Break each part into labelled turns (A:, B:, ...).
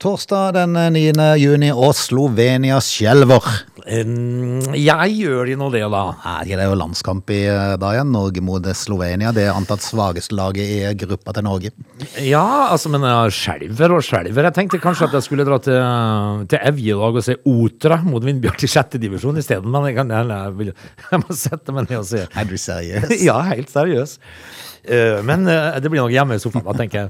A: Torsdag den 9. juni, og Slovenia skjelver.
B: Em, Jeg gjør de nå det, da.
A: Nei, det er jo landskamp i eh, dag igjen. Norge mot Slovenia. Det er antatt svakeste laget i gruppa til Norge.
B: Ja, altså, men jeg skjelver og skjelver. Jeg tenkte kanskje at jeg skulle dra til, til Evje i dag og se Otra mot Vindbjart i sjette divisjon isteden, men jeg, kan, jeg, jeg, vil, jeg må sette meg ned og se.
A: Er du seriøs?
B: Ja, helt seriøs. Eh, Men eh, det blir nok hjemme i sofaen, da, tenker jeg.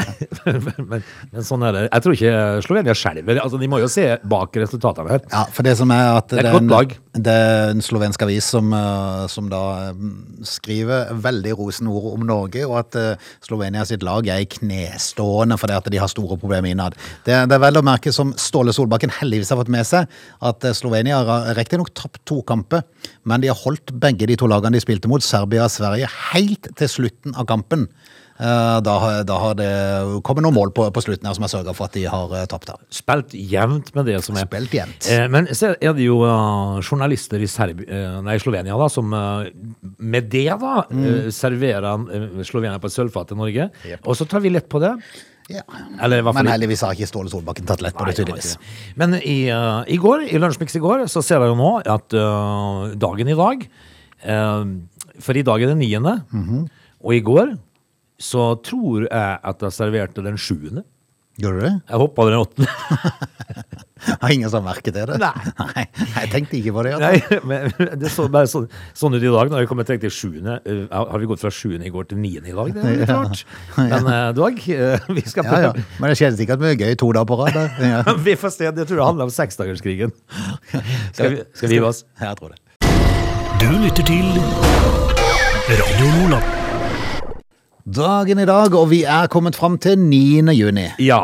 B: men, men, men sånn er det. Jeg tror ikke Slovenia skjelver. Altså, de må jo se bak resultatene her.
A: Ja, for det som er at
B: er et
A: det,
B: godt lag.
A: en, det er en slovensk avis som, eh, som da mm, skriver veldig rosende ord om Norge, og at eh, Slovenia sitt lag er i knestående fordi at de har store problemer innad. Det, det er vel å merke, som Ståle Solbakken heldigvis har fått med seg, at eh, Slovenia har riktignok tapt to kamper, men de har holdt begge de to lagene de spilte mot, Serbia og Sverige, helt til slutten av kampen. Eh, Da, har- da har det kommet noen mål på, på slutten her som har sørga for at de har eh, tapt her.
B: Spilt jevnt med det som er.
A: Spilt jevnt.
B: Eh, men så er det jo eh, journalister i Serb eh, nei, Slovenia da, som eh, med det da eh, serverer eh, Slovenia på et sølvfat til Norge.
A: Mm. Jep.
B: Og så tar vi lett på det.
A: Ja.
B: Eller i hvert fall
A: Men heldigvis har ikke Ståle Solbakken tatt lett på
B: Nei,
A: det,
B: det var ikke
A: tydeligvis.
B: det. Men i, eh, i går, i Lunsjmix i går, så ser jeg jo nå at eh, dagen i dag eh, For i dag er det niende,
A: Mhm.
B: og i går så tror jeg at jeg serverte den sjuende.
A: Gjorde du det?
B: Jeg hoppa over den åttende.
A: Har ingen som har merket det?
B: Nei.
A: Jeg tenkte ikke på det. Ja.
B: Nei, men det så bare sånn, sånn ut i dag. Når vi kommer til sjuende, eh, har vi gått fra sjuende i går til niende i dag? Det er litt rart. Men eh, Dag, eh, vi skal
A: Ja, ja. Men det skjedde sikkert mye gøy to dager på rad. da. Ja.
B: Vi får se. Det tror jeg handler om seksdagerskrigen. Skal vi, skal vi gi oss?
A: Ja, Jeg tror det.
C: Du lytter til Radio Lola.
A: Dagen i dag, og vi er kommet fram til 9. juni.
B: Ja.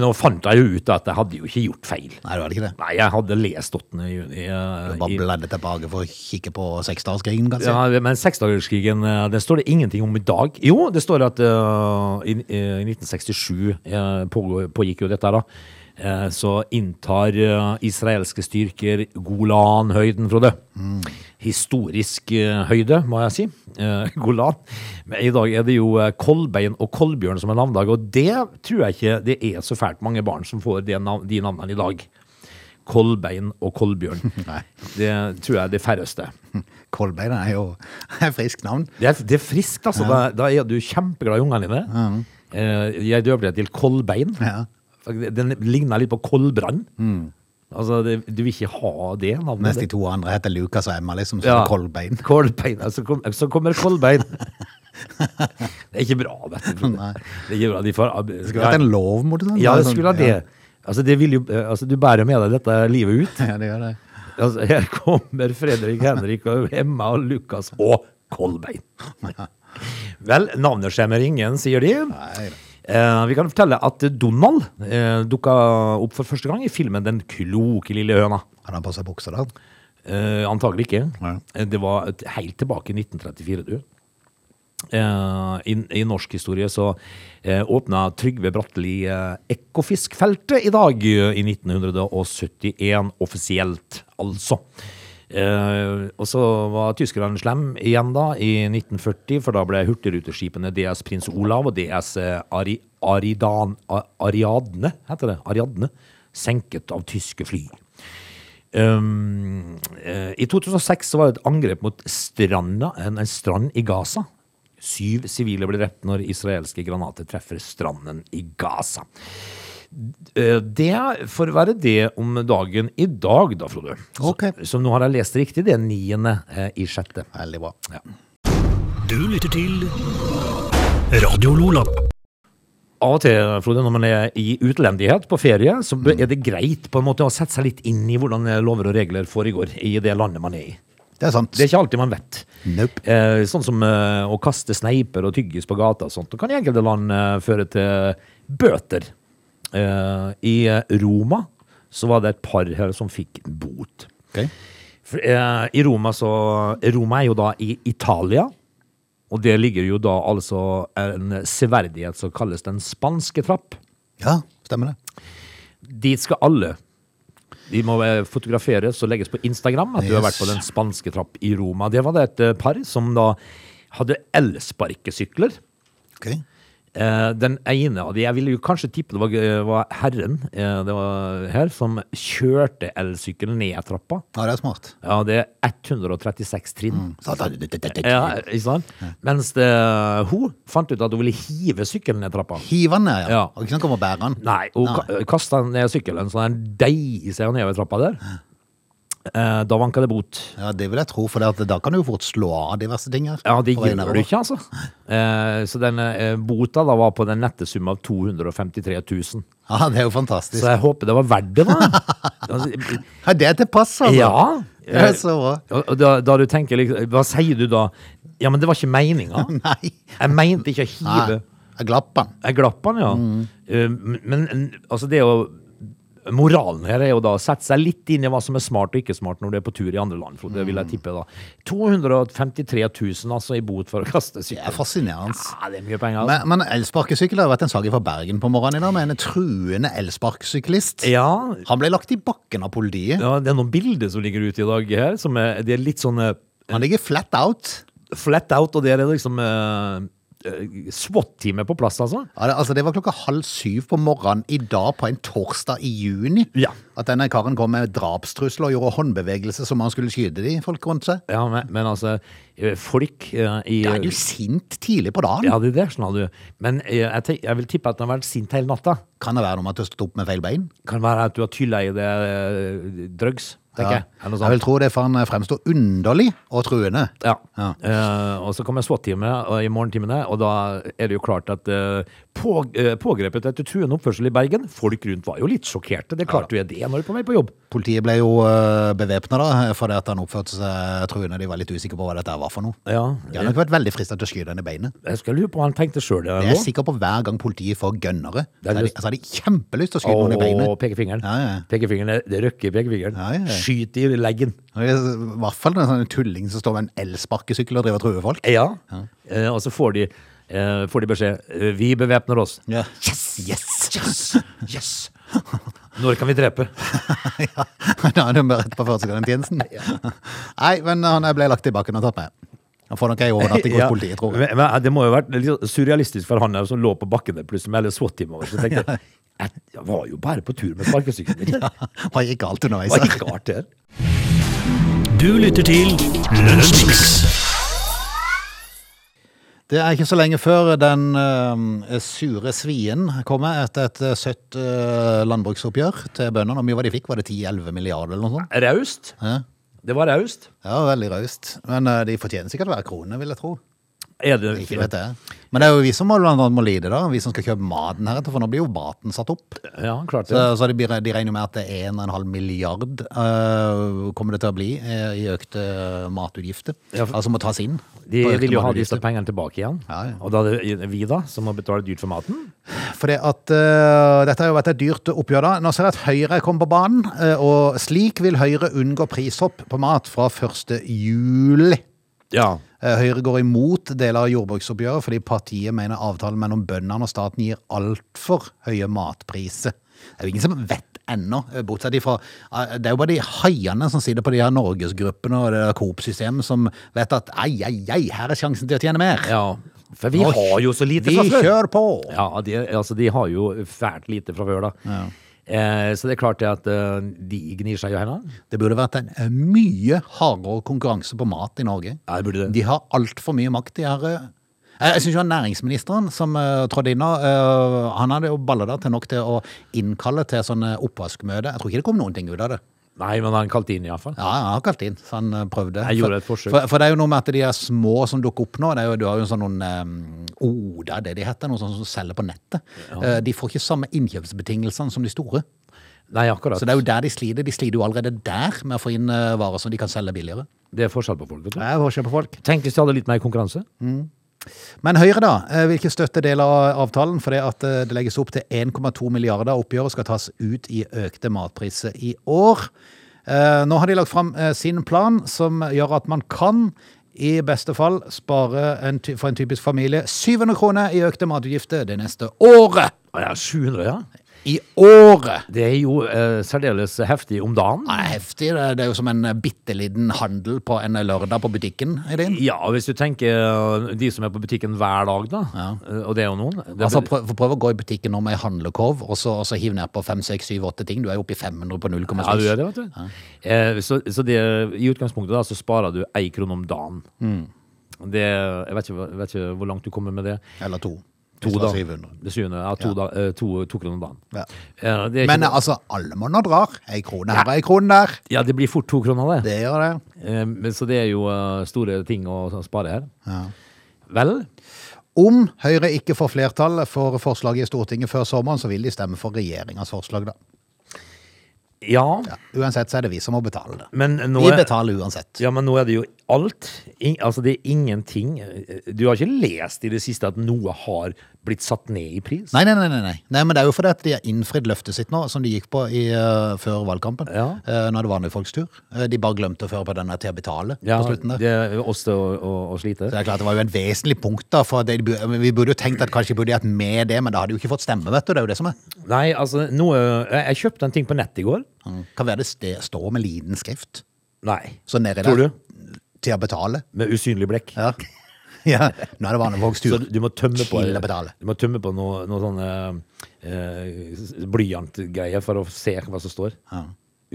B: Nå fant jeg jo ut at jeg hadde jo ikke gjort feil.
A: Nei, det var det ikke det.
B: Nei, jeg hadde lest 8. juni. eh,
A: Du bare
B: i-
A: bladde tilbake for å kikke på seksdagerskrigen, kanskje.
B: Ja, men seksdagerskrigen, eh, det står det ingenting om i dag. Jo, det står at eh, i, eh, i 1967 eh, pågå- pågikk jo dette her da. Eh, så inntar eh, israelske styrker Golanhøyden, Frode. Historisk eh, høyde, må jeg si. Eh, Golan. Men i dag er det jo eh, Kolbein og Kolbjørn som er navndag, og det tror jeg ikke det er så fælt mange barn som får det nav de navnene i dag. Kolbein og Kolbjørn.
A: Nei.
B: Det tror jeg er det færreste.
A: Kolbein er jo et friskt navn.
B: Det er, det er friskt, altså. Da, da er du kjempeglad i ungene dine. Eh, jeg døper det til kolbein.
A: Ja. Mm.
B: For det- Den ligner litt på kolbrann. Altså, det, du vil ikke ha det navnet.
A: Mens de to andre heter Lukas og Emma, liksom. Så
B: Ja.
A: Kolbein.
B: Kolbein. Altså, kom, så kommer kolbein. det er ikke bra, vet du.
A: Nei.
B: Det er ikke bra. De får,
A: Det skulle vært en lov mot det. sånn.
B: Ja, det
A: sånn-
B: skulle ha det. Altså, det vil jo, eh, altså, du bærer med deg dette livet ut.
A: Ja, det gjør det.
B: Altså, her kommer Fredrik, Henrik og Emma og Lukas og Kolbein. Vel, navnet skjemmer ingen, sier de.
A: Nei, da.
B: Eh, vi kan fortelle at Donald eh, dukka opp for første gang i filmen Den kloke lille høna.
A: Hadde han på seg bukser da?
B: Eh, antagelig ikke.
A: Nei.
B: Eh, Det var et- helt tilbake i 1934, du. Eh, i, I norsk historie så eh, åpna Trygve Bratteli eh, Ekofiskfeltet i dag eh, i 1971, offisielt, altså. Eh, og så var tyskerne slem igjen da, i 1940, for da ble hurtigruteskipene DS Prins Olav og DS Ari, Aridan, A- Ariadne, heter det, Ariadne, senket av tyske fly. Um, eh, I 2006 så var det et angrep mot stranda, en, en strand i Gaza. Syv sivile ble drept når israelske granater treffer stranden i Gaza. Eh, Det får være det om dagen i dag, da, Frode. Så-
A: Ok.
B: Som nå har jeg lest riktig, det er niende eh, i sjette.
A: Veldig bra.
B: Ja.
C: Du lytter til Radio Lola.
B: Av og til, Frode, når man er i utlendighet på ferie, så bør- er det greit på en måte å sette seg litt inn i hvordan eh, lover og regler foregår i det landet man er i.
A: Det er sant.
B: Det er ikke alltid man vet.
A: Nope.
B: Eh, sånn som eh, å kaste sneiper og tyggis på gata og sånt. Det kan i enkelte land eh, føre til bøter. Eh, I eh, Roma så var det et par her som fikk bot.
A: Ok.
B: For, eh, I Roma så Roma er jo da i Italia. Og det ligger jo da altså en severdighet som kalles den spanske trapp.
A: Ja, stemmer det.
B: Dit skal alle. De må eh, fotograferes og legges på Instagram at du har vært på
A: Yes.
B: Den spanske trapp i Roma. Det var det et eh, par som da hadde elsparkesykler.
A: Ok.
B: Eh, den ene av de, jeg ville jo kanskje tippe det var, var herren eh, det var her, som kjørte elsykkel ned trappa.
A: Ja, det er smart.
B: Ja, det er 136 trinn. Ja,
A: Mm. Ja.
B: ikke sant? Mens det, hun fant ut at hun ville hive sykkelen ned trappa.
A: Hive den ned, ja.
B: Ja.
A: Og ikke sånn komme og bære den.
B: Nei, hun ka- kasta ned sykkelen så den deig seg nedover trappa der. Eh, da vanka det bot.
A: Ja, det vil jeg tro, for det at da kan du jo fort slå av diverse ting her.
B: Ja, det
A: på vei
B: gjør
A: nedover.
B: du ikke, altså. Eh, så den eh, bota da var på den nette sum av 253 000.
A: Ja, det er jo fantastisk.
B: Så jeg håper det var verdt det, da. Altså,
A: Ja, det er til pass, altså.
B: Ja.
A: Det er så bra.
B: Og- og Da, da du tenker liksom Hva sier du da? Ja, men det var ikke meninga.
A: Nei.
B: Jeg mente ikke å
A: Nei.
B: hive.
A: Jeg glapp den.
B: Jeg glapp han, ja.
A: Mm.
B: Eh, men- Men en- altså, det å Moralen her er jo da å sette seg litt inn i hva som er smart og ikke smart når du er på tur i andre land. For det vil
A: Mm.
B: jeg tippe, da. 253 000 altså, i bot for å kaste
A: Det er
B: sykkel.
A: fascinerende.
B: Ja, det er mye penger. Altså.
A: Men, men elsparkesykkel har jo vært en sak fra Bergen på morgenen i dag, med en truende elsparkesyklist.
B: Ja,
A: Han ble lagt i bakken av politiet.
B: ja, det er noen bilder som ligger ute i dag her, som er, de er litt sånn eh,
A: Han ligger flat out.
B: flat out, og det er liksom eh, eh, SWAT-teamet på plass, altså.
A: Ja, det, altså, det var klokka halv syv på morgenen i dag på en torsdag i juni
B: Ja.
A: at denne karen kom med drapstrusler og gjorde håndbevegelser som om han skulle skyte de folk rundt seg.
B: Ja, men, men altså, eh, folk eh, i
A: Da er du sint tidlig på dagen.
B: Ja, det er det, skjønner du. Men eh, jeg, tenk, jeg vil tippe at den har vært sint hele natta.
A: Kan det være noe med at du har stått opp med feil bein?
B: Kan være at du har tylla i det eh, drugs, tenker
A: Ja.
B: jeg. Eller noe
A: Jeg vil
B: sånt.
A: tro det, for han eh, fremstår underlig og truende.
B: Ja.
A: Ja.
B: Eh, og så kommer SWAT-teamet eh, i morgentimene, og da er det jo klart at eh, på, eh, pågrepet etter truende oppførsel i Bergen Folk rundt var jo litt sjokkerte. Det er klart du er det når du er på vei på jobb.
A: Politiet ble jo eh, bevæpna fordi at han oppførte seg eh, truende. De var litt usikre på hva dette var for noe.
B: Ja.
A: De har nok vært veldig frista til å skyte henne i beinet.
B: Jeg skal lure på hva han tenkte eh, sjøl.
A: Jeg er sikker på hver gang politiet får gønnere, så
B: Det er
A: har de,
B: lyst-
A: så har de kjempelyst til å skyte noen i
B: Og
A: beinet.
B: pekefingeren.
A: Ja, ja.
B: Pekefingeren, det- Det røkker i pekefingeren.
A: Ja, ja, ja.
B: Skyt i leggen.
A: Og det er I hvert fall en sånn tulling som står med en elsparkesykkel og driver og truer folk.
B: Ja. Eh, og så får de, eh, får de beskjed eh, Vi bevæpner oss.
A: Ja.
B: Yes! Yes! Yes! yes. Når kan vi drepe?
A: ja. Da er det bare rett på førstegangstjenesten. Nei, men han ble lagt i bakken og tatt med. Han får nok ei overnatting hos
B: Ja,
A: politiet, tror jeg.
B: Men, men det må jo ha vært litt sånn surrealistisk for han der som lå på bakken der plutselig med hele SWAT-teamet over. Så tenkte jeg jeg var jo bare på tur med sparkesykkelen min.
A: Hva gikk galt underveis?
B: Hva
A: her?
B: gikk galt der?
C: Du lytter til Lunsjmix.
A: Det er ikke så lenge før den eh, sure svien kommer etter et eh, søtt eh, landbruksoppgjør til bøndene. Hvor mye var det de fikk? Var det 10-11 milliarder eller noe sånt?
B: Raust.
A: Ja,
B: Det var raust.
A: ja veldig raust. Men eh, de fortjener sikkert hver krone, vil jeg tro.
B: Er det
A: Ikke vet jeg. Men det er jo vi som må, blant annet må lide, da. Vi som skal kjøpe maten her, for nå blir jo maten satt opp.
B: Ja, klart
A: Så,
B: det.
A: så de, blir- de regner jo med at det er 1,5 milliard eh, kommer det til å bli eh, i økte matutgifter.
B: Ja, for-
A: altså må tas inn.
B: De
A: på økte
B: vil jo ha
A: matutgifter.
B: disse pengene tilbake igjen.
A: Ja, ja.
B: Og da er det vi, da, som må betale dyrt for maten.
A: For det at eh, dette har jo vært et dyrt oppgjør da. Nå ser jeg at Høyre kom på banen, eh, og slik vil Høyre unngå prishopp på mat fra 1. juli.
B: Ja.
A: Eh, Høyre går imot deler av jordbruksoppgjøret fordi partiet mener avtalen mellom bøndene og staten gir altfor høye matpriser. Det er jo ingen som vet ennå, eh, bortsett ifra eh, Det er jo bare de haiene som sitter på de her norgesgruppene og det der Coop-systemet som vet at ei, ei, ei, her er sjansen til å tjene mer.
B: ja. For vi
A: Nå-
B: har jo så lite
A: Vi
B: fra før.
A: kjører på!
B: Ja, de, altså de har jo fælt lite fra før, da. Eh, så det er klart det at eh, de gnir seg i hendene.
A: Det burde vært en eh, mye hardere konkurranse på mat i Norge.
B: Ja, det burde det.
A: De har altfor mye makt, de her. eh. Jeg jeg synes jo han næringsministeren som eh, trådde inn nå, eh, han hadde jo ballet der til nok til å innkalle til sånne oppvaskmøte. Jeg tror ikke det kom noen ting ut av det.
B: Nei, men han kalte inn iallfall.
A: Ja, han har kalt inn, så han eh, prøvde.
B: Jeg gjorde
A: For-
B: et forsøk.
A: For, for det er jo noe med at de er små som dukker opp nå. Det er jo, du har jo sånn noen um, Oda, det de heter, noen sånne som selger på nettet. Eh, De får ikke samme innkjøpsbetingelsene som de store.
B: Nei, akkurat.
A: Så det er jo der de slider. De slider jo allerede der med å få inn eh, varer som de kan selge billigere.
B: Det er forskjell på folk, vet du.
A: Det er forskjell på folk.
B: Tenk hvis de hadde litt mer konkurranse.
A: Men Høyre, da. eh, Hvilke støtter deler av avtalen? For det at eh, det legges opp til 1,2 milliarder av oppgjøret skal tas ut i økte matpriser i år. Eh, Nå har de lagt fram eh, sin plan, som gjør at man kan i beste fall spare en ty for en typisk familie 700 kroner i økte matutgifter det neste året.
B: Å ja, 700, ja.
A: i året.
B: Det er jo eh, særdeles heftig om dagen.
A: Det er heftig. Det det er jo som en eh, bitte liten handel på en lørdag på butikken. Er det inn?
B: Ja, og hvis du tenker eh, de som er på butikken hver dag, da. eh, Og det er jo noen. Det er
A: Altså, prøv, prøv å gå i butikken nå med ei handlekorv, og så, og så hiv ned på 5, 6, 7, 8 ting. Du er jo oppe i 500 på 0,7.
B: Ja, du gjør det, vet du. Eh, så så det, i utgangspunktet da, så sparer du én krone om dagen.
A: Mm.
B: Det, jeg, vet ikke, hva- jeg vet ikke hvor langt du kommer med det.
A: Eller to.
B: To,
A: Hvis det
B: da.
A: var 700.
B: Det syvende, ja, to,
A: Ja.
B: da, eh, to, to kroner om dagen.
A: Ja.
B: Eh, det er ikke,
A: Men eh, altså, allmanner drar. Ei krone her og ei krone der.
B: ja, det blir fort to kroner, det.
A: Det gjør det.
B: Eh, men, så det er jo eh, store ting å å spare her.
A: Ja.
B: Vel,
A: Om Høyre ikke får flertall for forslaget i Stortinget før sommeren, så vil de stemme for regjeringas forslag, da.
B: ja.
A: Ja. Uansett så er det vi som må betale det.
B: Men nå
A: Vi
B: er,
A: betaler uansett.
B: ja, men nå er det jo alt. Ing- altså, det er ingenting. Eh, Du har ikke lest i det siste at noe har blitt satt ned i pris?
A: Nei, nei, nei, nei, nei. nei, men det er jo fordi at de har innfridd løftet sitt nå, som de gikk på i, eh, før valgkampen.
B: Ja.
A: Eh, nå er det vanlige folks tur. Eh, de bare glemte å føre på denne til å betale
B: Ja,
A: på slutten der.
B: det er oss til å, å, å slite.
A: Så det er klart det var jo en vesentlig punkt da, for det, vi burde jo tenkt at kanskje de burde hatt med det, men da hadde de jo ikke fått stemme, vet du, det er jo det som er.
B: Nei, altså, noe, jeg, jeg kjøpte en ting på nett i går.
A: Kan være det ste- står med liten skrift,
B: Nei.
A: så nede
B: Tror
A: der,
B: du?
A: til å betale.
B: Med usynlig blekk.
A: Ja. ja, nå er det vanlige folks
B: Så
A: tur.
B: du må tømme på,
A: Til å betale.
B: du må tømme på noe, noe sånn eh, eh, blyantgreier for å se hva som står.
A: Ja.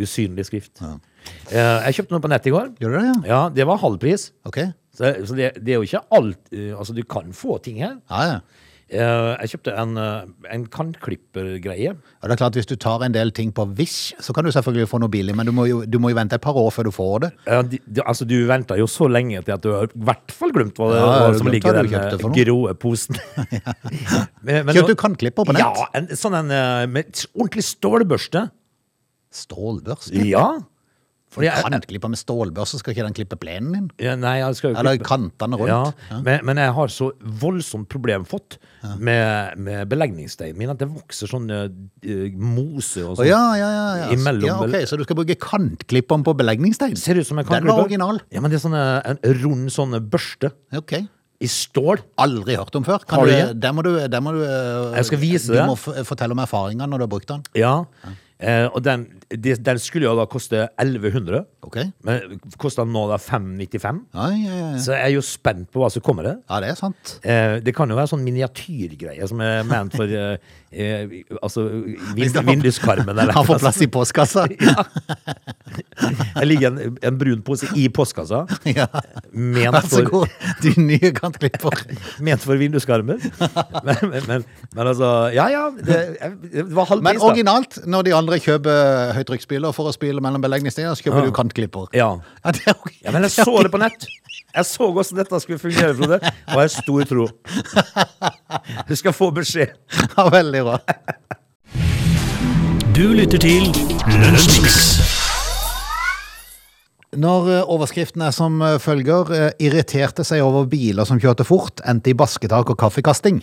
B: Usynlig skrift. Eh, jeg kjøpte noe på nett i går.
A: Gjorde du det?
B: Ja, det var halv pris.
A: Ok, ja,
B: Så, så det, det er jo ikke alt. eh, altså, du kan få ting her.
A: ja.
B: Eh, jeg kjøpte en, eh, en kantklippergreie.
A: Og det er klart, Hvis du tar en del ting på Wish, så kan du selvfølgelig få noe billig, men du må jo, du må jo vente et par år før du får det.
B: Ja, de, de, altså Du venter jo så lenge til at du har i hvert fall glemt hva, det-
A: Ja,
B: hva
A: du
B: som
A: glemte
B: ligger
A: hva du
B: i den
A: kjøpte for
B: eh,
A: noe.
B: gråe posen. Men- men
A: Kjøpte
B: nå-
A: du kantklipper på nett?
B: Ja, en sånn en eh, med s- ordentlig stålbørste.
A: Stålbørste?
B: Ja. Fordi jeg,
A: Kantklipper med stålbørste, skal ikke den klippe plenen din?
B: ja, nei, jeg skal jo
A: Eller
B: klippe-
A: kantene rundt?
B: Ja, men, men jeg har så voldsomt problem fått med, med belegningsdeigen min at det vokser sånn eh, eh, mose og
A: Å
B: sånn.
A: ja, ja, ja. ja.
B: Imellom
A: ja ok,
B: bel-
A: Så du skal bruke kantklipperen på belegningstegn?
B: Ser ut som en
A: Den
B: kantklipper.
A: var original.
B: Ja, men det er sånn eh, en rund sånn børste
A: Ok.
B: i stål.
A: Aldri hørt om før.
B: Har
A: Kan
B: du
A: du,
B: ikke?
A: der må du, der må du eh,
B: Jeg skal
A: Du
B: vise det.
A: må f fortelle om erfaringene når du har brukt den.
B: Ja. Eh, og den, de, den skulle jo da koste 1100,
A: Ok? Ja,
B: men koster den nå da 595.
A: ja, ja. ja.
B: Så jeg er jo spent på hva som kommer det.
A: ja det er sant.
B: Eh, det kan jo være sånn miniatyrgreie som er ment for eh, eh, altså, vind, vinduskarmen eller
A: Han får
B: noe.
A: plass i postkassa.
B: Det ligger en, en brun pose i postkassa,
A: Ja.
B: ment
A: Vær så
B: for,
A: Altså, god, din nye kantklipper.
B: ment for vinduskarmen. Men, men, men, men altså, ja ja, det, det var halv
A: Men
B: pris da.
A: originalt, når de andre kjøper høytrykksspyler for å spyle mellom belegningstegner, så kjøper du kantklipper.
B: Ja.
A: Ja, det er ok.
B: Ja, men jeg så det på nett. Jeg så hvordan dette skulle fungere, Frode, og jeg har stor tro. Du skal få beskjed.
A: Ja, veldig bra.
C: Du lytter til Lunsjmix.
A: Når eh, overskriften er som eh, følger eh, Irriterte seg over biler som kjørte fort, endte i basketak og kaffekasting.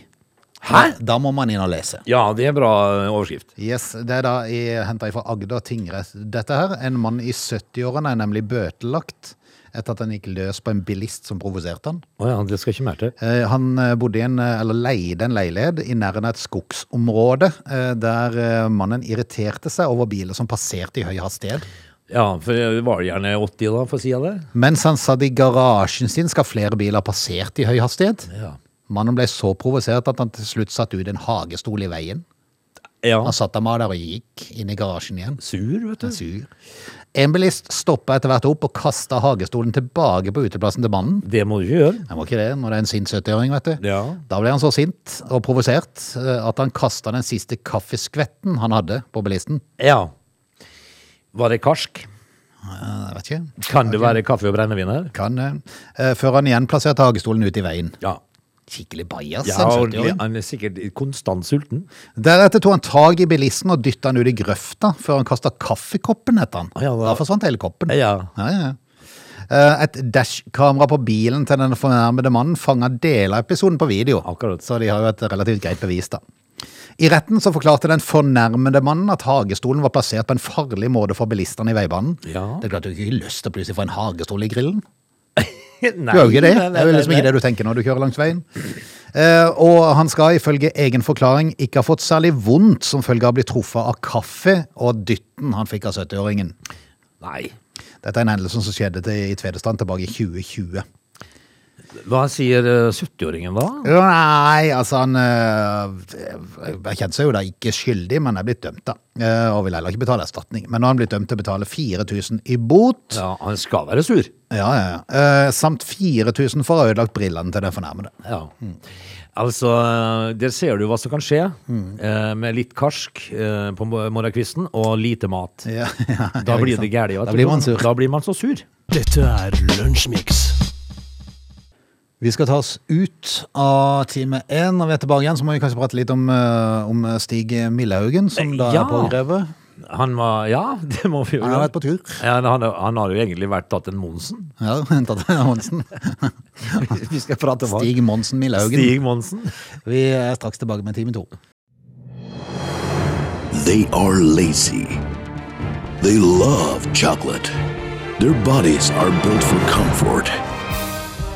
B: Hæ?
A: Da må man inn og lese.
B: Ja, det er bra eh, overskrift.
A: Yes, Det er da henta fra Agder tingrett, dette her. En mann i 70-årene er nemlig bøtelagt etter at han gikk løs på en bilist som provoserte han.
B: Å ja, det skal ikke mer til.
A: Eh, Han eh, bodde i en, eh, eller leide en leilighet i nærheten av et skogsområde, eh, der eh, mannen irriterte seg over biler som passerte i høy hastighet.
B: Ja, for det var gjerne 80 da, for å si det.
A: Mens han satt i garasjen sin, skal flere biler ha passert i høy hastighet.
B: Ja.
A: Mannen ble så provosert at han til slutt satt ut en hagestol i veien.
B: ja.
A: Han satt ham av der og gikk inn i garasjen igjen.
B: Sur, vet du.
A: Sur. En bilist stoppa etter hvert opp og kasta hagestolen tilbake på uteplassen til mannen.
B: Det må du ikke gjøre.
A: Jeg må ikke det når det er en sint 70-åring, vet du.
B: Ja.
A: Da ble han så sint og provosert eh, at han kasta den siste kaffeskvetten han hadde på bilisten.
B: Ja. Var det karsk?
A: Eh, Jeg vet ikke.
B: Kan det være kaffe og brennevin her?
A: Kan, eh, eh, før han igjen plasserte hagestolen ute i veien.
B: Ja.
A: Skikkelig bajas,
B: Ja,
A: en
B: og
A: 70-åring.
B: han er sikkert konstant sulten.
A: Deretter tok han tak i bilisten og dytta han ut i grøfta, før han kasta kaffekoppen etter han.
B: Å, ja,
A: da
B: da-
A: forsvant hele koppen.
B: Ja.
A: Ja, ja. Eh, Et dashkamera på bilen til den fornærmede mannen fanga deler av episoden på video.
B: Akkurat.
A: Så de har jo et relativt greit bevis, da. I retten så forklarte den fornærmede mannen at hagestolen var plassert på en farlig måte for bilistene i veibanen.
B: Ja.
A: Det er klart du har ikke lyst til å plutselig få en hagestol i grillen.
B: Nei,
A: Du har jo ikke det.
B: nei, nei,
A: Det er jo liksom
B: nei,
A: ikke det du tenker når du kjører langs veien. Eh, Og han skal ifølge egen forklaring ikke ha fått særlig vondt som følge av å bli truffet av kaffe og dytten han fikk av 70-åringen.
B: Nei.
A: Dette er en hendelse som skjedde til, i Tvedestrand tilbake i 2020.
B: Hva sier eh, 70-åringen da?
A: Jo, Nei, altså han eh, Jeg kjente seg jo da ikke skyldig, men er blitt dømt, da. Eh, Og vil heller ikke betale erstatning. Men nå har han blitt dømt til å betale 4000 i bot.
B: Ja, han skal være sur.
A: Ja, ja, ja. Eh, Samt 4000 for å ha ødelagt brillene til den fornærmede.
B: Ja.
A: Hmm.
B: Altså, eh, der ser du hva som kan skje
A: Hmm.
B: eh, med litt karsk eh, på mo- morgenkvisten og lite mat.
A: Ja, ja,
B: Da
A: ja,
B: blir
A: ikke
B: det
A: sant.
B: gærent. vet
A: Da
B: du.
A: blir man sur.
B: Da blir man så sur.
C: Dette er Lunsjmix.
A: Vi skal ta oss ut av time én. Når vi er tilbake igjen, så må vi kanskje prate litt om, eh, om Stig Millehaugen, som da
B: Ja.
A: er pågrepet.
B: Han var Ja, det må vi jo
A: Han har
B: gjøre.
A: vært på tur.
B: Ja, han, han har jo egentlig vært tatt en Monsen.
A: Ja, hentet Monsen.
B: Vi skal prate om han.
A: Stig Monsen Millehaugen.
B: Stig Monsen.
A: Vi er straks tilbake med time to.
D: They are lazy. They love chocolate. Their bodies are built for comfort.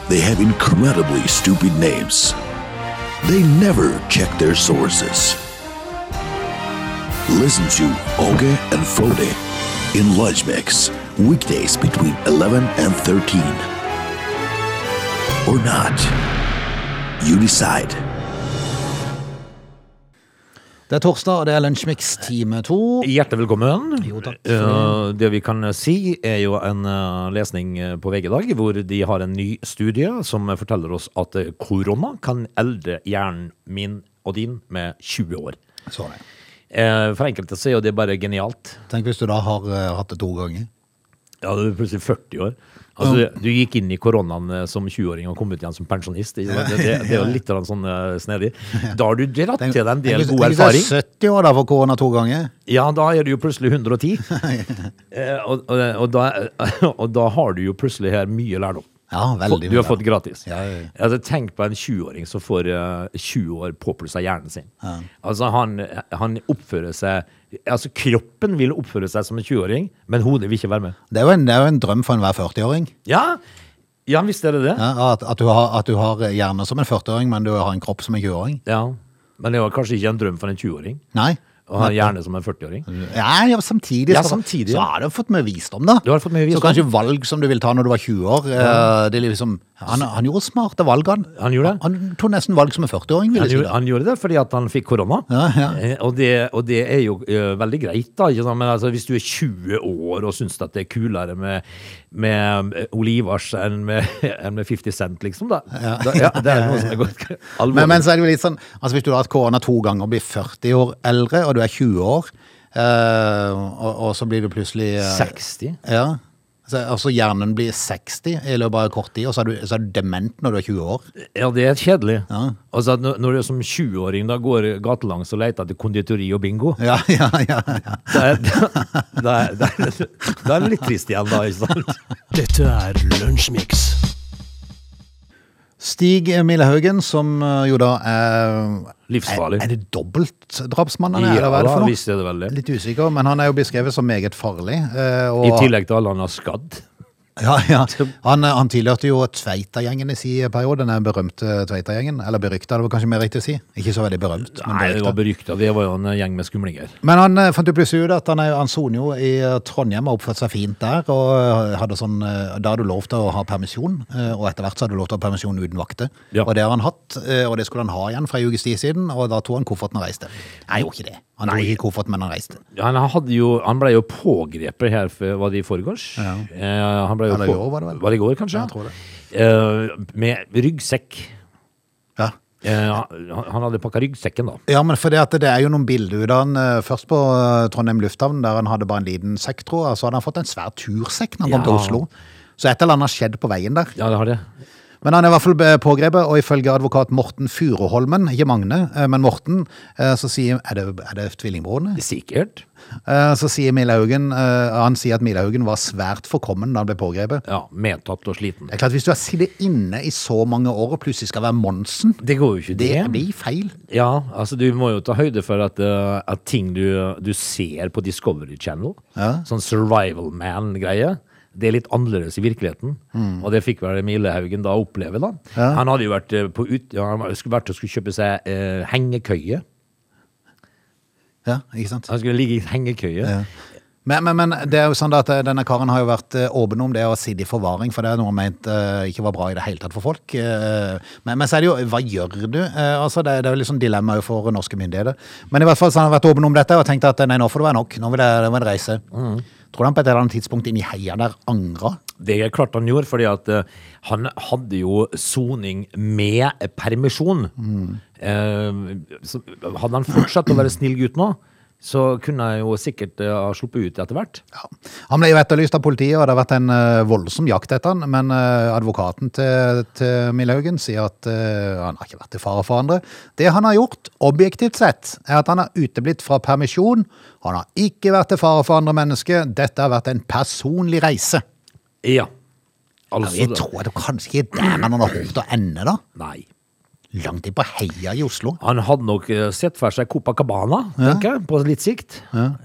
D: They have incredibly stupid names. They never check their sources. Listen to Oge and Frode in Lunch Mix, weekdays between 11 and 13. Or not. You decide.
A: Det er torsdag, og det er Lunsjmix time to.
B: Hjertelig velkommen.
A: Jo, takk.
B: Eh, det vi kan si, er jo en eh, lesning eh, på VG i dag, hvor de har en ny studie som forteller oss at eh, korona kan eldre hjernen min og din med 20 år.
A: Så det.
B: Eh, for enkelte så er jo det bare genialt.
A: Tenk hvis du da har eh, hatt det to ganger.
B: Ja, du er plutselig 40 år. Altså, du, du gikk inn i koronaen eh, som 20-åring og kom ut igjen som pensjonist. ikke sant? Det, det, det er jo litt grann sånn eh, snedig. Da har du dratt til deg en del
A: hvis-
B: god
A: hvis du er
B: erfaring.
A: 70 år da for korona to ganger.
B: Ja, da er det jo plutselig 110. Eh, og, og, og, da, og da har du jo plutselig her mye lærdom.
A: Ja, veldig.
B: Du har fått gratis.
A: Ja, ja, ja.
B: Altså, tenk på en 20-åring som får eh, 20 år påplussa hjernen sin. Altså, han, han oppfører seg Altså, kroppen vil oppføre seg som en 20-åring, men hodet vil ikke være med.
A: Det er jo en, det er jo en drøm for enhver 40-åring.
B: Ja, ja visst er det det. Ja.
A: Ja, at, at, du har- at du har hjerne som en 40-åring, men du har en kropp som en 20-åring.
B: Men det var kanskje ikke en drøm for en 20-åring
A: Nei.
B: å ha en hjerne som en 40-åring.
A: Ja, ja, samtidig,
B: Ja,
A: så-
B: samtidig,
A: så
B: ja.
A: har du fått mye visdom, da.
B: Du har fått mye visdom.
A: Så kanskje valg som du vil ta når du var 20 år eh, det er liksom, han, han gjorde smarte valg, han.
B: Han gjorde det.
A: Han tok nesten valg som en 40-åring, vil
B: Han
A: jeg si.
B: gjorde,
A: da.
B: han gjorde det fordi at han fikk korona.
A: Ja, ja.
B: Eh, Og, det, og det er jo eh, veldig greit, da. Ikke sant? Men altså, hvis du er 20 år og syns at det er kulere med, med eh, Olivas enn med, enn med 50 Cent, liksom, da, da ja, Det er noe som er gått alvorlig.
A: Men, men så er det jo litt sånn, altså hvis du har hatt korona to ganger og blir 40 år eldre, og du er 20 år, eh, og, og så blir du plutselig eh,
B: 60?
A: Ja. Så, altså hjernen blir 60 i løpet av kort tid, og så er, du, så er du dement når du er 20 år.
B: Ja, det er kjedelig.
A: Ja.
B: Altså, at når- når du som 20-åring da går gatelangs og leter etter konditori og bingo,
A: Ja, ja, ja. ja.
B: da er, da, da, er- da, er- da er det litt trist igjen, da. Ikke sant?
C: Dette er Lunsjmix.
A: Stig Millehaugen, som eh, jo da er
B: Livsfarlig.
A: Er, er det dobbeltdrapsmann han er? eller hva
B: Ja,
A: er det
B: da,
A: for noe?
B: visst er det vel det.
A: Litt usikker, men han er jo beskrevet som meget farlig. eh, Og,
B: I tillegg til alle han har skadd.
A: Ja, ja. Han, eh, han tilhørte jo Tveita-gjengen i si periode, den berømte Tveita-gjengen. Eller berykta, det var kanskje mer riktig å si. Ikke så veldig berømt, men
B: Nei, det var
A: berykta.
B: berykta. Det var jo en gjeng med skumlinger.
A: Men han eh, fant jo plutselig ut at han, er jo- han soner jo i eh, Trondheim og oppførte seg fint der. og eh, hadde sånn, eh, Da hadde du lov til å ha permisjon, eh, og etter hvert så hadde du lov til å ha permisjon uten vakter.
B: Ja.
A: Og det har han hatt, eh, og det skulle han ha igjen fra ei ukes tid siden, og da tok han kofferten og reiste. Nei, han gjorde ikke det. Han tok ikke kofferten, men han reiste.
B: Han, hadde jo, han ble jo pågrepet her, for- var det i forgårs?
A: Ja.
B: Eh, han ble jo
A: Eller i
B: på-
A: går var det vel?
B: Var det i går, kanskje?
A: Ja, jeg tror det.
B: Eh, med ryggsekk.
A: Ja.
B: Eh, han, han hadde pakka ryggsekken, da.
A: Ja, men for det, at det er jo noen bilder ut av han eh, først på eh, Trondheim lufthavn, der han hadde bare en liten sekk, tror jeg. og Så hadde han fått en svær tursekk når han kom
B: Ja.
A: til Oslo. Så et eller annet har skjedd på veien der.
B: Ja, det har det.
A: Men han er i hvert fall eh, pågrepet, og ifølge advokat Morten Furuholmen, ikke Magne, eh, men Morten, eh, så sier Er det, er det tvillingbroren?
B: Sikkert.
A: Eh, Så sier Milahaugen eh, Han sier at Milahaugen var svært forkommen da han ble pågrepet.
B: Ja, Medtatt og sliten.
A: Det er klart, Hvis du har sittet inne i så mange år og plutselig skal være Monsen,
B: Det går jo ikke,
A: det
B: det.
A: blir feil.
B: Ja, altså Du må jo ta høyde for at, eh, at ting du, du ser på Discovery Channel, sånn Survival Man-greie Det er litt annerledes i virkeligheten, og det fikk vel Milehaugen da oppleve. da.
A: Mm. Ja.
B: Han hadde jo vært eh, på ut, ja, han skulle vært og skulle kjøpe seg eh, hengekøye.
A: Ja, ikke sant?
B: Han skulle ligge i hengekøye.
A: Ja. Men, men, men det er jo sånn da at eh, denne karen har jo vært eh, åpen om det å sitte i forvaring, for det er noe han mente eh, ikke var bra i det hele tatt for folk. Eh, Men, men så er det jo Hva gjør du? Eh, Altså, det, er- det er jo liksom dilemmaet for norske myndigheter. Men i hvert fall så har han vært åpen om dette og tenkt at eh, nei, nå får det være nok. Nå vil jeg, det må jeg reise. Tror du han på et eller annet tidspunkt inn i heia der angra?
B: Det er klart han gjorde, fordi at eh, han hadde jo soning med permisjon.
A: Mm.
B: Eh, så hadde han fortsatt å være snill gutt nå, så kunne jeg jo sikkert eh, ha sluppet ut etter hvert.
A: Ja. Han ble jo etterlyst av politiet, og det har vært en eh, voldsom jakt etter han, men eh, advokaten til, til Milhaugen sier at eh, han har ikke vært til fare for andre. Det han har gjort, objektivt sett, er at han har uteblitt fra permisjon. Han har ikke vært til fare for andre mennesker. Dette har vært en personlig reise.
B: Ja.
A: Ja,
B: Altså,
A: vi tror det kanskje ikke er der han har håpet å ende, da.
B: Nei.
A: Langt inn på heia i Oslo.
B: Han hadde nok eh, sett for seg Copacabana, tenker jeg, på litt sikt.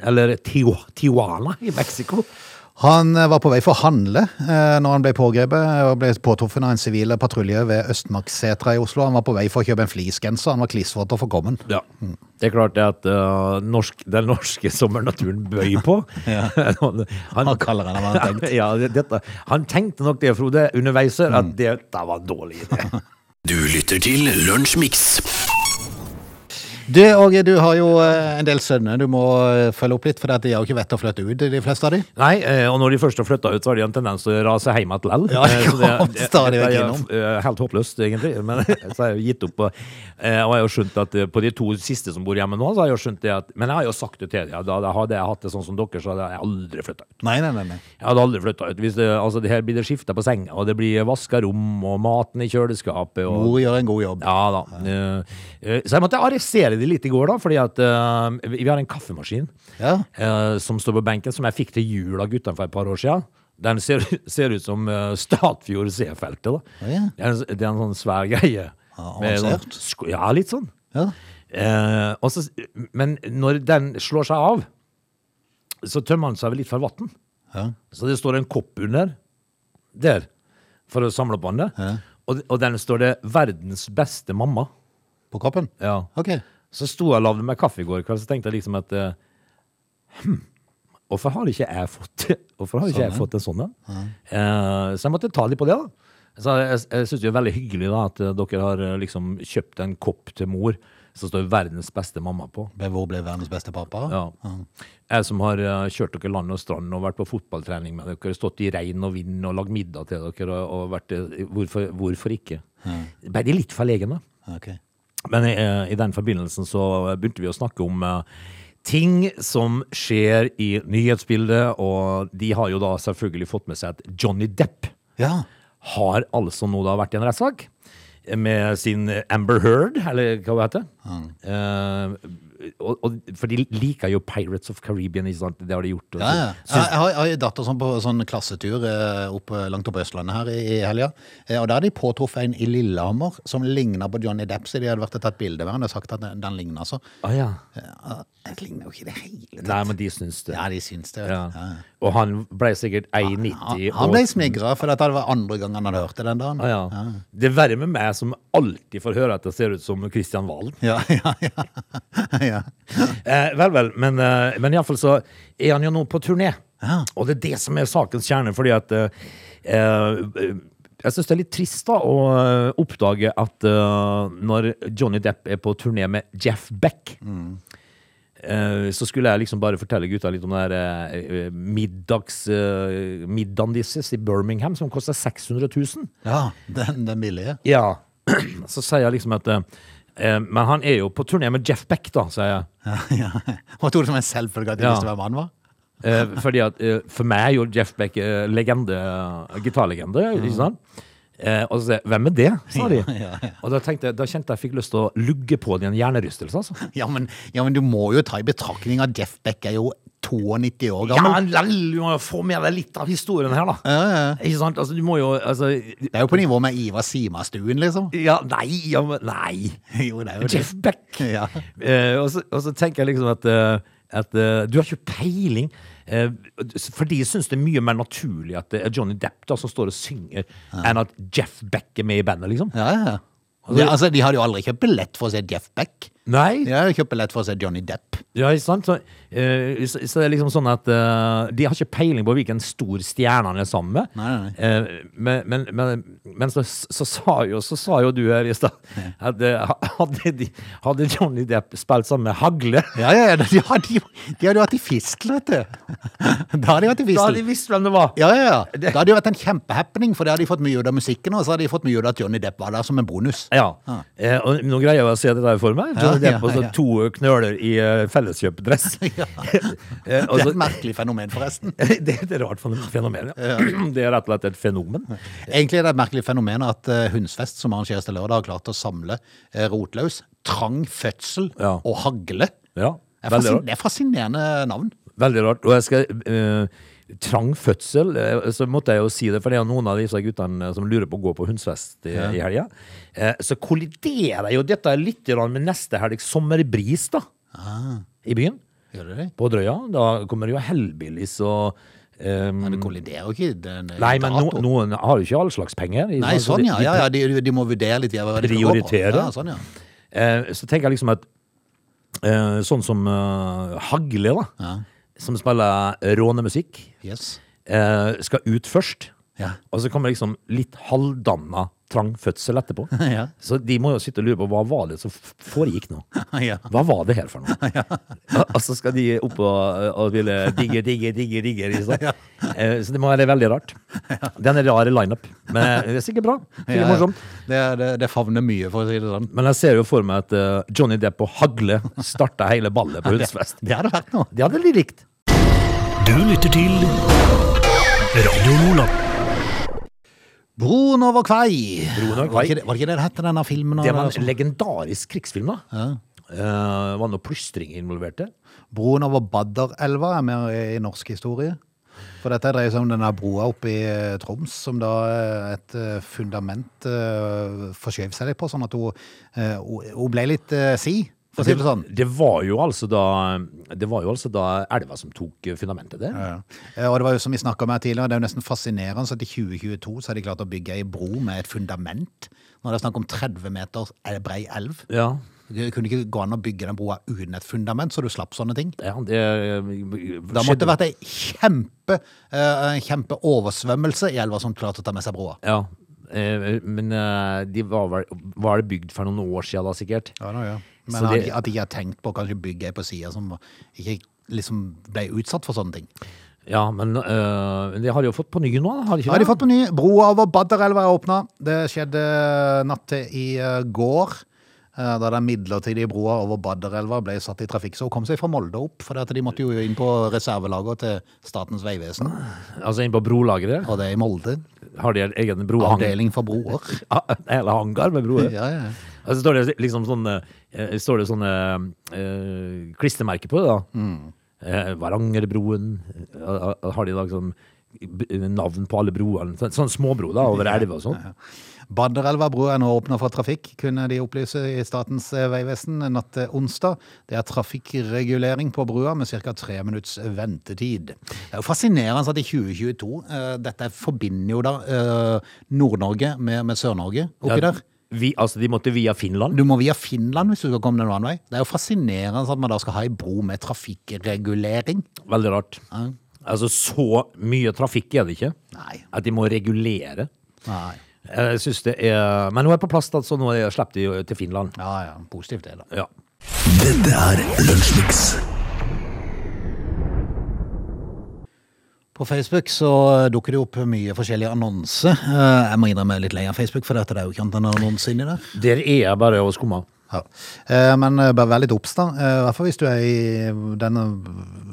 B: Eller Tio Tijuana i Mexico.
A: Han eh, var på vei for å handle eh, når han ble pågrepet eh, og ble påtruffet av en sivil patrulje ved Østmarksetra i Oslo. Han var på vei for å kjøpe en fleecegenser. Han var klissvåt og forkommen.
B: Ja. Mm. Det er klart det at eh, norsk, den norske sommernaturen bøy på. han,
A: Han kaller han det hva han tenkte.
B: ja, det- dette, han tenkte nok det, Frode, underveis her,
A: Mm.
B: at dette var en dårlig idé.
C: Du lytter til Lunsjmix.
A: Du, Åge, du har jo eh, en del sønner du må eh, følge opp litt, for de har jo ikke vett til å flytte ut, de fleste av de.
B: Nei, eh, og når de først har flytta ut, så har de en tendens til å rase hjem igjen lell.
A: Ja,
B: Eh, så
A: kom stadig vekk
B: det er
A: innom.
B: eh, helt håpløst, egentlig. Men så har jeg jo gitt opp. Og, eh, og jeg har jo skjønt at eh, på de to siste som bor hjemme nå, så har jeg jo skjønt det at Men jeg har jo sagt det til dem. Da da hadde jeg hatt det sånn som dere, så hadde jeg aldri flytta ut.
A: Nei, nei, nei. nei.
B: Jeg hadde aldri flytta ut. Hvis det, altså, det her blir det skifta på senga, og det blir vaska rom, og maten i kjøleskapet, og
A: Mor gjør en god jobb.
B: Ja da. Eh, eh, Så jeg måtte arrestere de litt i går, da, fordi at eh, vi vi har en kaffemaskin
A: Ja.
B: eh, som står på benken, som jeg fikk til jul av guttene for et par år siden. Den ser, ser ut som eh, Statfjord C-feltet. da.
A: Å, ja.
B: det, er en, det er en sånn svær greie.
A: Ja,
B: Med sånn
A: avansert.
B: sk- ja, litt sånn.
A: Ja.
B: Eh, og så, men når den slår seg av, så tømmer den seg vel litt for vann.
A: Ja.
B: Så det står en kopp under der for å samle på den.
A: Ja.
B: Og, og den står det 'Verdens beste mamma'.
A: På kroppen?
B: Ja.
A: Ok.
B: Så sto jeg og lagde meg kaffe i går kveld, så tenkte jeg liksom at eh, Hm, hvorfor har ikke jeg fått, hvorfor har ikke jeg fått en sånn en? Eh, så jeg måtte ta litt på det, da. Så jeg, jeg syns det er veldig hyggelig da at eh, dere har eh, liksom kjøpt en kopp til mor som står 'Verdens beste mamma' på.
A: Men Hvor ble verdens beste pappa?
B: Ja. Jeg som har eh, kjørt dere land og strand og vært på fotballtrening med dere, stått i regn og vind og lagd middag til dere, og, og vært eh, Hvorfor, hvorfor ikke? Ble de litt forlegne?
A: Ok.
B: Men eh, i den forbindelsen så begynte vi å snakke om eh, ting som skjer i nyhetsbildet, og de har jo da selvfølgelig fått med seg at Johnny Depp
A: Ja.
B: har altså nå da vært i en rettssak med sin Amber Heard, eller hva hun heter. Eh, og, og, for de liker jo Pirates of Caribbean, ikke sant? Det har de gjort. og
A: Ja, ja.
B: så-
A: Jeg jeg har, jeg har en datter sånn på sånn klassetur eh, opp, langt opp på Østlandet her i, i helga. Eh, og da hadde de påtruffet en i Lillehammer som ligna på Johnny Depp. Så de hadde vært og tatt bilde med han og sagt at den, den ligna så.
B: Ah, ja.
A: Eh, Den ligner jo ikke i det hele tatt.
B: Nei, men de syns det.
A: Ja, de syns det. vet du.
B: Ja.
A: Ja. ja.
B: Og han ble sikkert 1,90.
A: Han,
B: og-
A: han ble smigra, for dette var andre gang han hadde hørt det den dagen.
B: Ah, ja. Det er verre med meg som alltid får høre at jeg ser ut som Kristian Valen.
A: Ja, ja, ja. ja.
B: Eh, vel, vel, men, eh, men iallfall så er han jo nå på turné.
A: Ja.
B: Og det er det som er sakens kjerne, fordi at eh, eh, Jeg syns det er litt trist da å eh, oppdage at eh, når Johnny Depp er på turné med Jeff Beck eh, Så skulle jeg liksom bare fortelle gutta litt om den der eh, middags, eh, middagen deres i Birmingham, som koster 600 000.
A: ja den, den billige.
B: Ja. Så sier jeg liksom at eh, eh, Men han er jo på turné med Jeff Beck, da, sier jeg.
A: Ja, ja. Og tok det som en selvfølge at de
B: Ja.
A: visste hvem han var.
B: Eh, fordi at eh, For meg er jo Jeff Beck eh, legende, eh, gitarlegende. Ikke sant? Eh, og så sier jeg 'Hvem er det?' sa de. Og da, tenkte, jeg- da kjente jeg fikk lyst til å lugge på det i en hjernerystelse. altså.
A: Ja men, ja, men du må jo ta i betraktning at Jeff Beck er jo 92 år
B: Ja,
A: gammel.
B: men lell, du må jo få med deg litt av historien her, da. Ikke sant? Altså, du må jo altså,
A: Det er jo på nivå med Ivar Simastuen, liksom.
B: Ja, nei, ja, men Nei!
A: Jo, det er jo det.
B: Jeff Beck!
A: Ja.
B: Eh, og, så, og så tenker jeg liksom at, eh, at eh, du har ikke peiling. Eh, For de syns det er mye mer naturlig at det er Johnny Depp da som står og synger, enn at Jeff Beck er med i bandet, liksom.
A: Ja, ja. De, altså, de hadde jo aldri kjøpt billett for å se Jeff Beck.
B: Nei,
A: De hadde jo kjøpt billett for å se Johnny Depp.
B: Ja, ikke sant? Så, eh, så, så det er liksom sånn at eh, de har ikke peiling på hvilken stor stjerne han er sammen med.
A: Nei, nei, nei.
B: Eh, men men, men, men så, så, sa jo, så sa jo du her i stad at eh, hadde, de, hadde Johnny Depp spilt sammen med Hagle,
A: Ja, ja, ja, de hadde jo, de hadde jo vært i fistel, vet du. Da hadde de vært i
B: da hadde
A: fistel.
B: de visst hvem det var.
A: Ja, ja, ja. Da hadde det jo vært en kjempehappening, for da hadde de fått mye ut av musikken, og så hadde de fått mye ut av at Johnny Depp var der som en bonus.
B: Ja. Eh, og nå greier jeg å se det der for meg.
A: Ah. Ja,
B: Johnny Depp og
A: ja,
B: så
A: ja.
B: to knøler i eh, felleskjøpdress. Eh, og
A: Det er
B: så-
A: et merkelig fenomen, forresten.
B: det er et rart fenomen. Ja. Det er rett og slett et fenomen.
A: Egentlig er det et merkelig fenomen at eh, Hundsfest, som arrangeres til lørdag, har klart å samle eh, rotløs, trang fødsel
B: Ja.
A: og hagle.
B: Ja,
A: Det er,
B: veldig
A: fasin
B: rart.
A: det er fascinerende navn.
B: Veldig rart. Og jeg skal eh, Trang fødsel, eh, så måtte jeg jo si det, for det er jo noen av disse guttene som lurer på å gå på hundsfest i, i helga. Eh, så kolliderer jo dette litt grann med neste helg, sommerbris, da.
A: Ah.
B: I byen.
A: Gjør det det?
B: På Drøya. Da kommer jo Hellbillies og eh,
A: Men det kolliderer jo ikke. Det er en
B: Nei, men no,
A: dato.
B: noen har jo ikke all slags penger. Altså,
A: Nei, sånn ja.
B: De-
A: ja, ja de, de må vurdere litt hva de skal gå på.
B: Prioritere.
A: Ja, sånn, ja.
B: Eh, så tenker jeg liksom at eh, Sånn som eh, Hagle, da. Som spiller rånemusikk.
A: Yes.
B: eh, skal ut først.
A: Ja.
B: Og så kommer liksom litt halvdanna trangfødsel etterpå.
A: Ja.
B: Så de må jo sitte og lure på hva var det som f- foregikk nå.
A: Ja.
B: Hva var det her for noe? Og så skal de opp og, og ville digge, digge, digge, digge. Liksom. Eh, Så det må være veldig rart. Det er en rar lineup, men det er sikkert bra. Sikkert
A: Ja, ja.
B: morsomt.
A: Det, er- det, det favner mye, for å si det sånn.
B: Men jeg ser jo for meg at eh, Johnny Depp og Hagle starta hele ballet på Hundsfest.
A: Det hadde vært noe.
B: Det hadde de likt.
C: Du lytter til Radio Nordland.
A: Broen over kvei. Broen
B: over kvei.
A: Var ikke det var det, ikke det det het, denne filmen?
B: Det var
A: eller
B: en
A: sånn?
B: legendarisk krigsfilm, da. Eh, var det noe plystring involvert der?
A: Broen over Badderelva er med i, i norsk historie. For dette dreier seg om denne broa oppe i eh, Troms, som da eh, et eh, fundament eh, forskjøv seg litt på, sånn at hun, eh, hun hun ble litt eh, si, for å si det sånn.
B: Det var jo altså da Det var jo altså da elva som tok eh, fundamentet der.
A: Ja, ja. Eh, Og det var jo som vi snakket om her tidligere, det er jo nesten fascinerende at i 2022 så har de klart å bygge ei bro med et fundament. Når det er snakk om 30 meter el- brei elv.
B: Ja.
A: Det kunne ikke gå an å bygge den broa uten et fundament, så du slapp sånne ting.
B: ja det eh,
A: Da måtte det
B: skjedde.
A: vært ei kjempe, eh, kjempe oversvømmelse i elva som klarte å ta med seg broa.
B: Ja. eh, Men eh, de var vel Var det bygd for noen år siden da, sikkert?
A: Ja, da, ja. Men
B: Så
A: at
B: det-
A: de- at de ikke har tenkt på å kanskje bygge ei på sida som ikke liksom ble utsatt for sånne ting.
B: Ja, men eh, men de har jo fått på ny nå, har de ikke
A: Har de fått på ny? Broa over Badderelva er åpna. Det skjedde natt til i eh, går. eh, Da den midlertidige broa over Badderelva ble satt i trafikk, så hun kom seg fra Molde opp. For at de måtte jo inn på reservelageret til Statens vegvesen,
B: Altså inn på brolageret?
A: og det er i Molde.
B: Har de en egen brohang...
A: Avdeling for broer.
B: Ah, Hele hangar med broer?
A: Ja, ja.
B: Og så står det liksom sånne, eh, står det sånne eh, klistremerker på det, da.
A: Mm.
B: Eh, Varangerbroen. eh, eh, Har de i dag sånn b- navn på alle broene? Sånn, sånn småbro da, over elva og sånn.
A: Badderelva bro er nå åpna for trafikk, kunne de opplyse i Statens eh, vegvesen natt til onsdag. Det er trafikkregulering på brua med ca. tre minutts ventetid. Det er jo fascinerende at i 2022 eh, Dette forbinder jo da eh, Nord-Norge med, med Sør-Norge oppi
B: Ja,
A: der.
B: Vi, altså, de måtte via Finland.
A: Du må via Finland hvis du skal komme den annen vei. Det er jo fascinerende at man da skal ha ei bro med trafikkregulering.
B: Veldig rart. Altså, så mye trafikk er det ikke.
A: Nei.
B: At de må regulere.
A: Nei.
B: Eh, Jeg synes det er Men nå er jeg på plass, da, så nå er jeg sluppet de jo til Finland.
A: Ja ja, positivt det, da.
B: Ja.
D: Dette er Lunsjmix.
A: På Facebook så dukker det opp mye forskjellige annonser. Eh, Jeg må innrømme jeg er litt lei av Facebook, for dette, det er jo ikke annet enn annonser inni der.
B: Der er jeg bare og skummer.
A: Ja. Eh, Men eh, bare vær litt obs, da. Eh, I hvert fall hvis du er i denne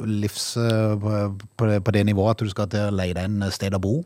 A: livs... eh, på- På det, på det nivået at du skal til å leie deg en eh, sted å bo.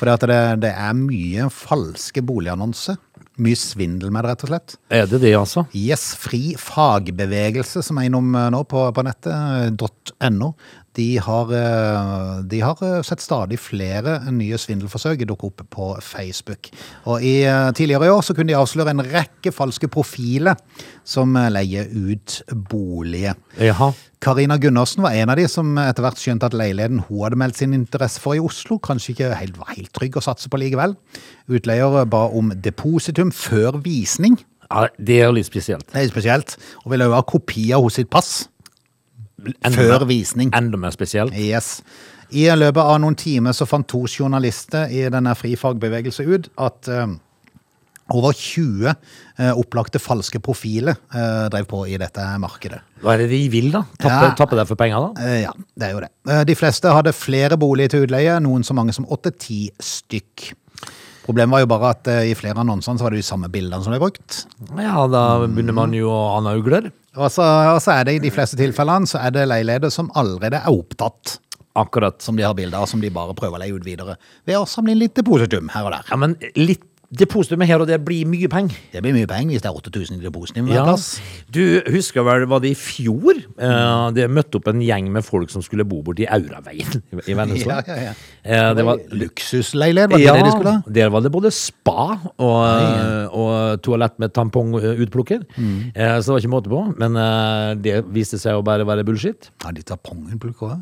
A: For det, at det, det er mye falske boligannonser. Mye svindel med det, rett og slett.
B: Er det det, altså?
A: Yes, fri fagbevegelse som er innom eh, nå på, på nettet, eh, .no. De har, eh, de har eh, sett stadig flere nye svindelforsøk dukke opp på Facebook. Og i, eh, Tidligere i år så kunne de avsløre en rekke falske profiler som eh, leier ut boliger.
B: Jaha.
A: Karina Gunnarsen var en av de som etter hvert skjønte at leiligheten hun hadde meldt sin interesse for i Oslo, kanskje ikke helt, var helt trygg å satse på likevel. Utleier ba om depositum før visning.
B: Ja, det er jo litt spesielt.
A: Det er jo spesielt. Og ville jo ha kopi av hos sitt pass. Før visning.
B: Enda mer spesielt.
A: Yes. I løpet av noen timer så fant to journalister i denne frifagbevegelsen ut at eh, over 20 eh, opplagte falske profiler eh, drev på i dette markedet.
B: Hva er det de vil, da? Tappe,
A: Ja.
B: tappe deg for penger, da?
A: Eh, ja, det er jo det. Eh, de fleste hadde flere boliger til utleie, noen så mange som 8-10 stykk. Problemet var jo bare at eh, i flere annonser så var det de samme bildene som ble brukt.
B: Ja, da begynner man jo å ane ugler.
A: Og så, og så er det i de fleste tilfellene så er det leiligheter som allerede er opptatt.
B: Akkurat.
A: som de har bilder av, som de bare prøver å leie ut videre. Ved å samle inn litt depositum her og der.
B: Ja, men litt depositumet her og der blir mye penger.
A: Det blir mye penger hvis det er 8000 i depositum hver
B: Ja.
A: plass.
B: Du husker vel, var det i fjor? Eh, det møtte opp en gjeng med folk som skulle bo borti Auraveien i Vennesla.
A: Ja, ja, ja.
B: Eh, det var
A: Luksusleilighet, var det det de skulle ha?
B: der var det både spa og, eh, og toalett med tampongutplukker. Eh, så det var ikke måte på. Men eh, det viste seg å bare være bullshit.
A: Ja, de tar pongen på lukka.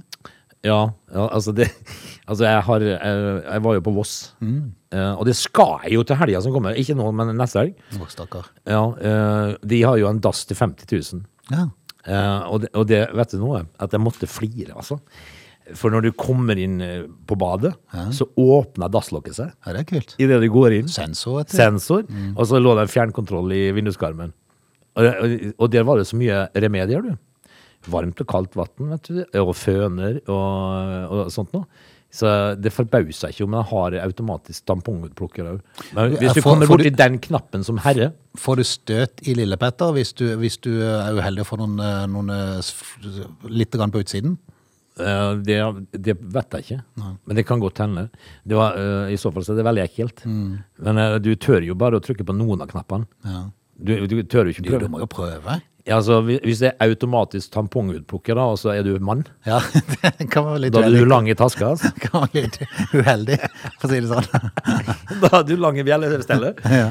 B: Ja, ja altså, det, altså jeg, har, jeg, jeg var jo på Voss. Eh, og det skal jeg jo til helga som kommer. Ikke nå, men neste helg.
A: Å, stakkar.
B: Ja, eh, de har jo en dass til 50 000.
A: Ja.
B: Eh, og, det, og det, vet du noe, at jeg måtte flire, altså. For når du kommer inn eh, på badet, så åpner dasslokket seg.
A: ja, det er kult.
B: Idet du går inn,
A: Sensor, vet du.
B: sensor,
A: Mm.
B: og så lå det en fjernkontroll i vinduskarmen. Og, og, og der var det så mye remedier, du. Varmt og kaldt vann, vet du, og føner og, og sånt noe. Så det forbauser ikke om jeg har automatisk tampongutplukker òg. Men
A: Ja,
B: hvis du
A: for-
B: kommer
A: for
B: borti
A: du-
B: den knappen som herre
A: Får du støt i lillepetter hvis du, hvis du er uheldig og får noen, eh, noen eh, s- litt grann på utsiden?
B: Eh, det, det vet jeg ikke, men det kan godt hende. Det var, eh, I så fall så er det veldig ekkelt.
A: Mm.
B: Men eh, du tør jo bare å trykke på noen av knappene.
A: Ja.
B: Du, du tør jo ikke
A: Du, du
B: prøve.
A: må jo prøve.
B: Ja, altså, hvi- hvis det er automatisk tampongutplukker, da, og så er du mann,
A: Ja, det kan være litt
B: da er du
A: uheldig.
B: lang i taska. Altså.
A: Kan være litt uheldig, for å si det sånn.
B: Da er du lang i bjellestellet.
A: Ja.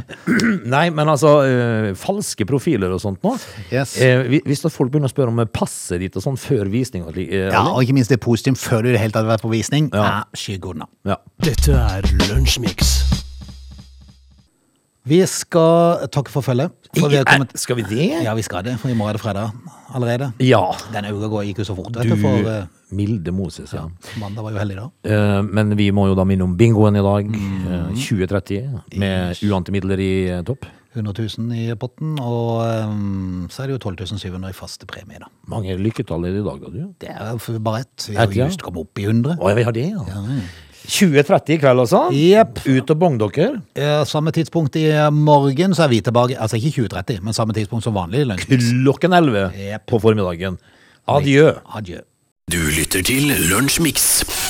B: Nei, men altså, eh, falske profiler og sånt nå.
A: Yes.
B: Eh, hvi- hvis da folk begynner å spørre om eh, passet ditt og sånn før visning og slik. eh,
A: Ja, og ikke minst depositum før du i det hele tatt har vært på visning. Ja. Skygg unna.
B: ja.
C: Dette er Lunsjmix.
A: Vi skal takke for følget. For vi har kommet...
B: Eh, Skal vi det?
A: Ja, vi skal det, for i morgen er det fredag allerede.
B: Ja.
A: Denne uka går- gikk jo så fort, vet
B: Du,
A: du, for eh,
B: Milde Moses, ja.
A: mandag var jo heldig da.
B: Eh, Men vi må jo da minne om bingoen i dag. eh, 2030 med uante midler i eh, topp.
A: 100 000 i potten, og eh, så er det jo 12 700 i faste premie da.
B: Mange lykketall er det i dag, da, du.
A: Det er jo for- bare ett. Vi har
B: Ett,
A: jo
B: ja.
A: just kommet opp i 100.
B: Å, ja, vi har det, ja. 2030 i kveld, altså.
A: Jepp.
B: Ut og bong dere.
A: Eh, Samme tidspunkt i morgen, så er vi tilbake, altså ikke 2030, men samme tidspunkt som vanlig. i lunsj.
B: Klokken 11
A: Jepp.
B: på formiddagen. Adjø.
A: Adjø.
C: Du lytter til Lunsjmix.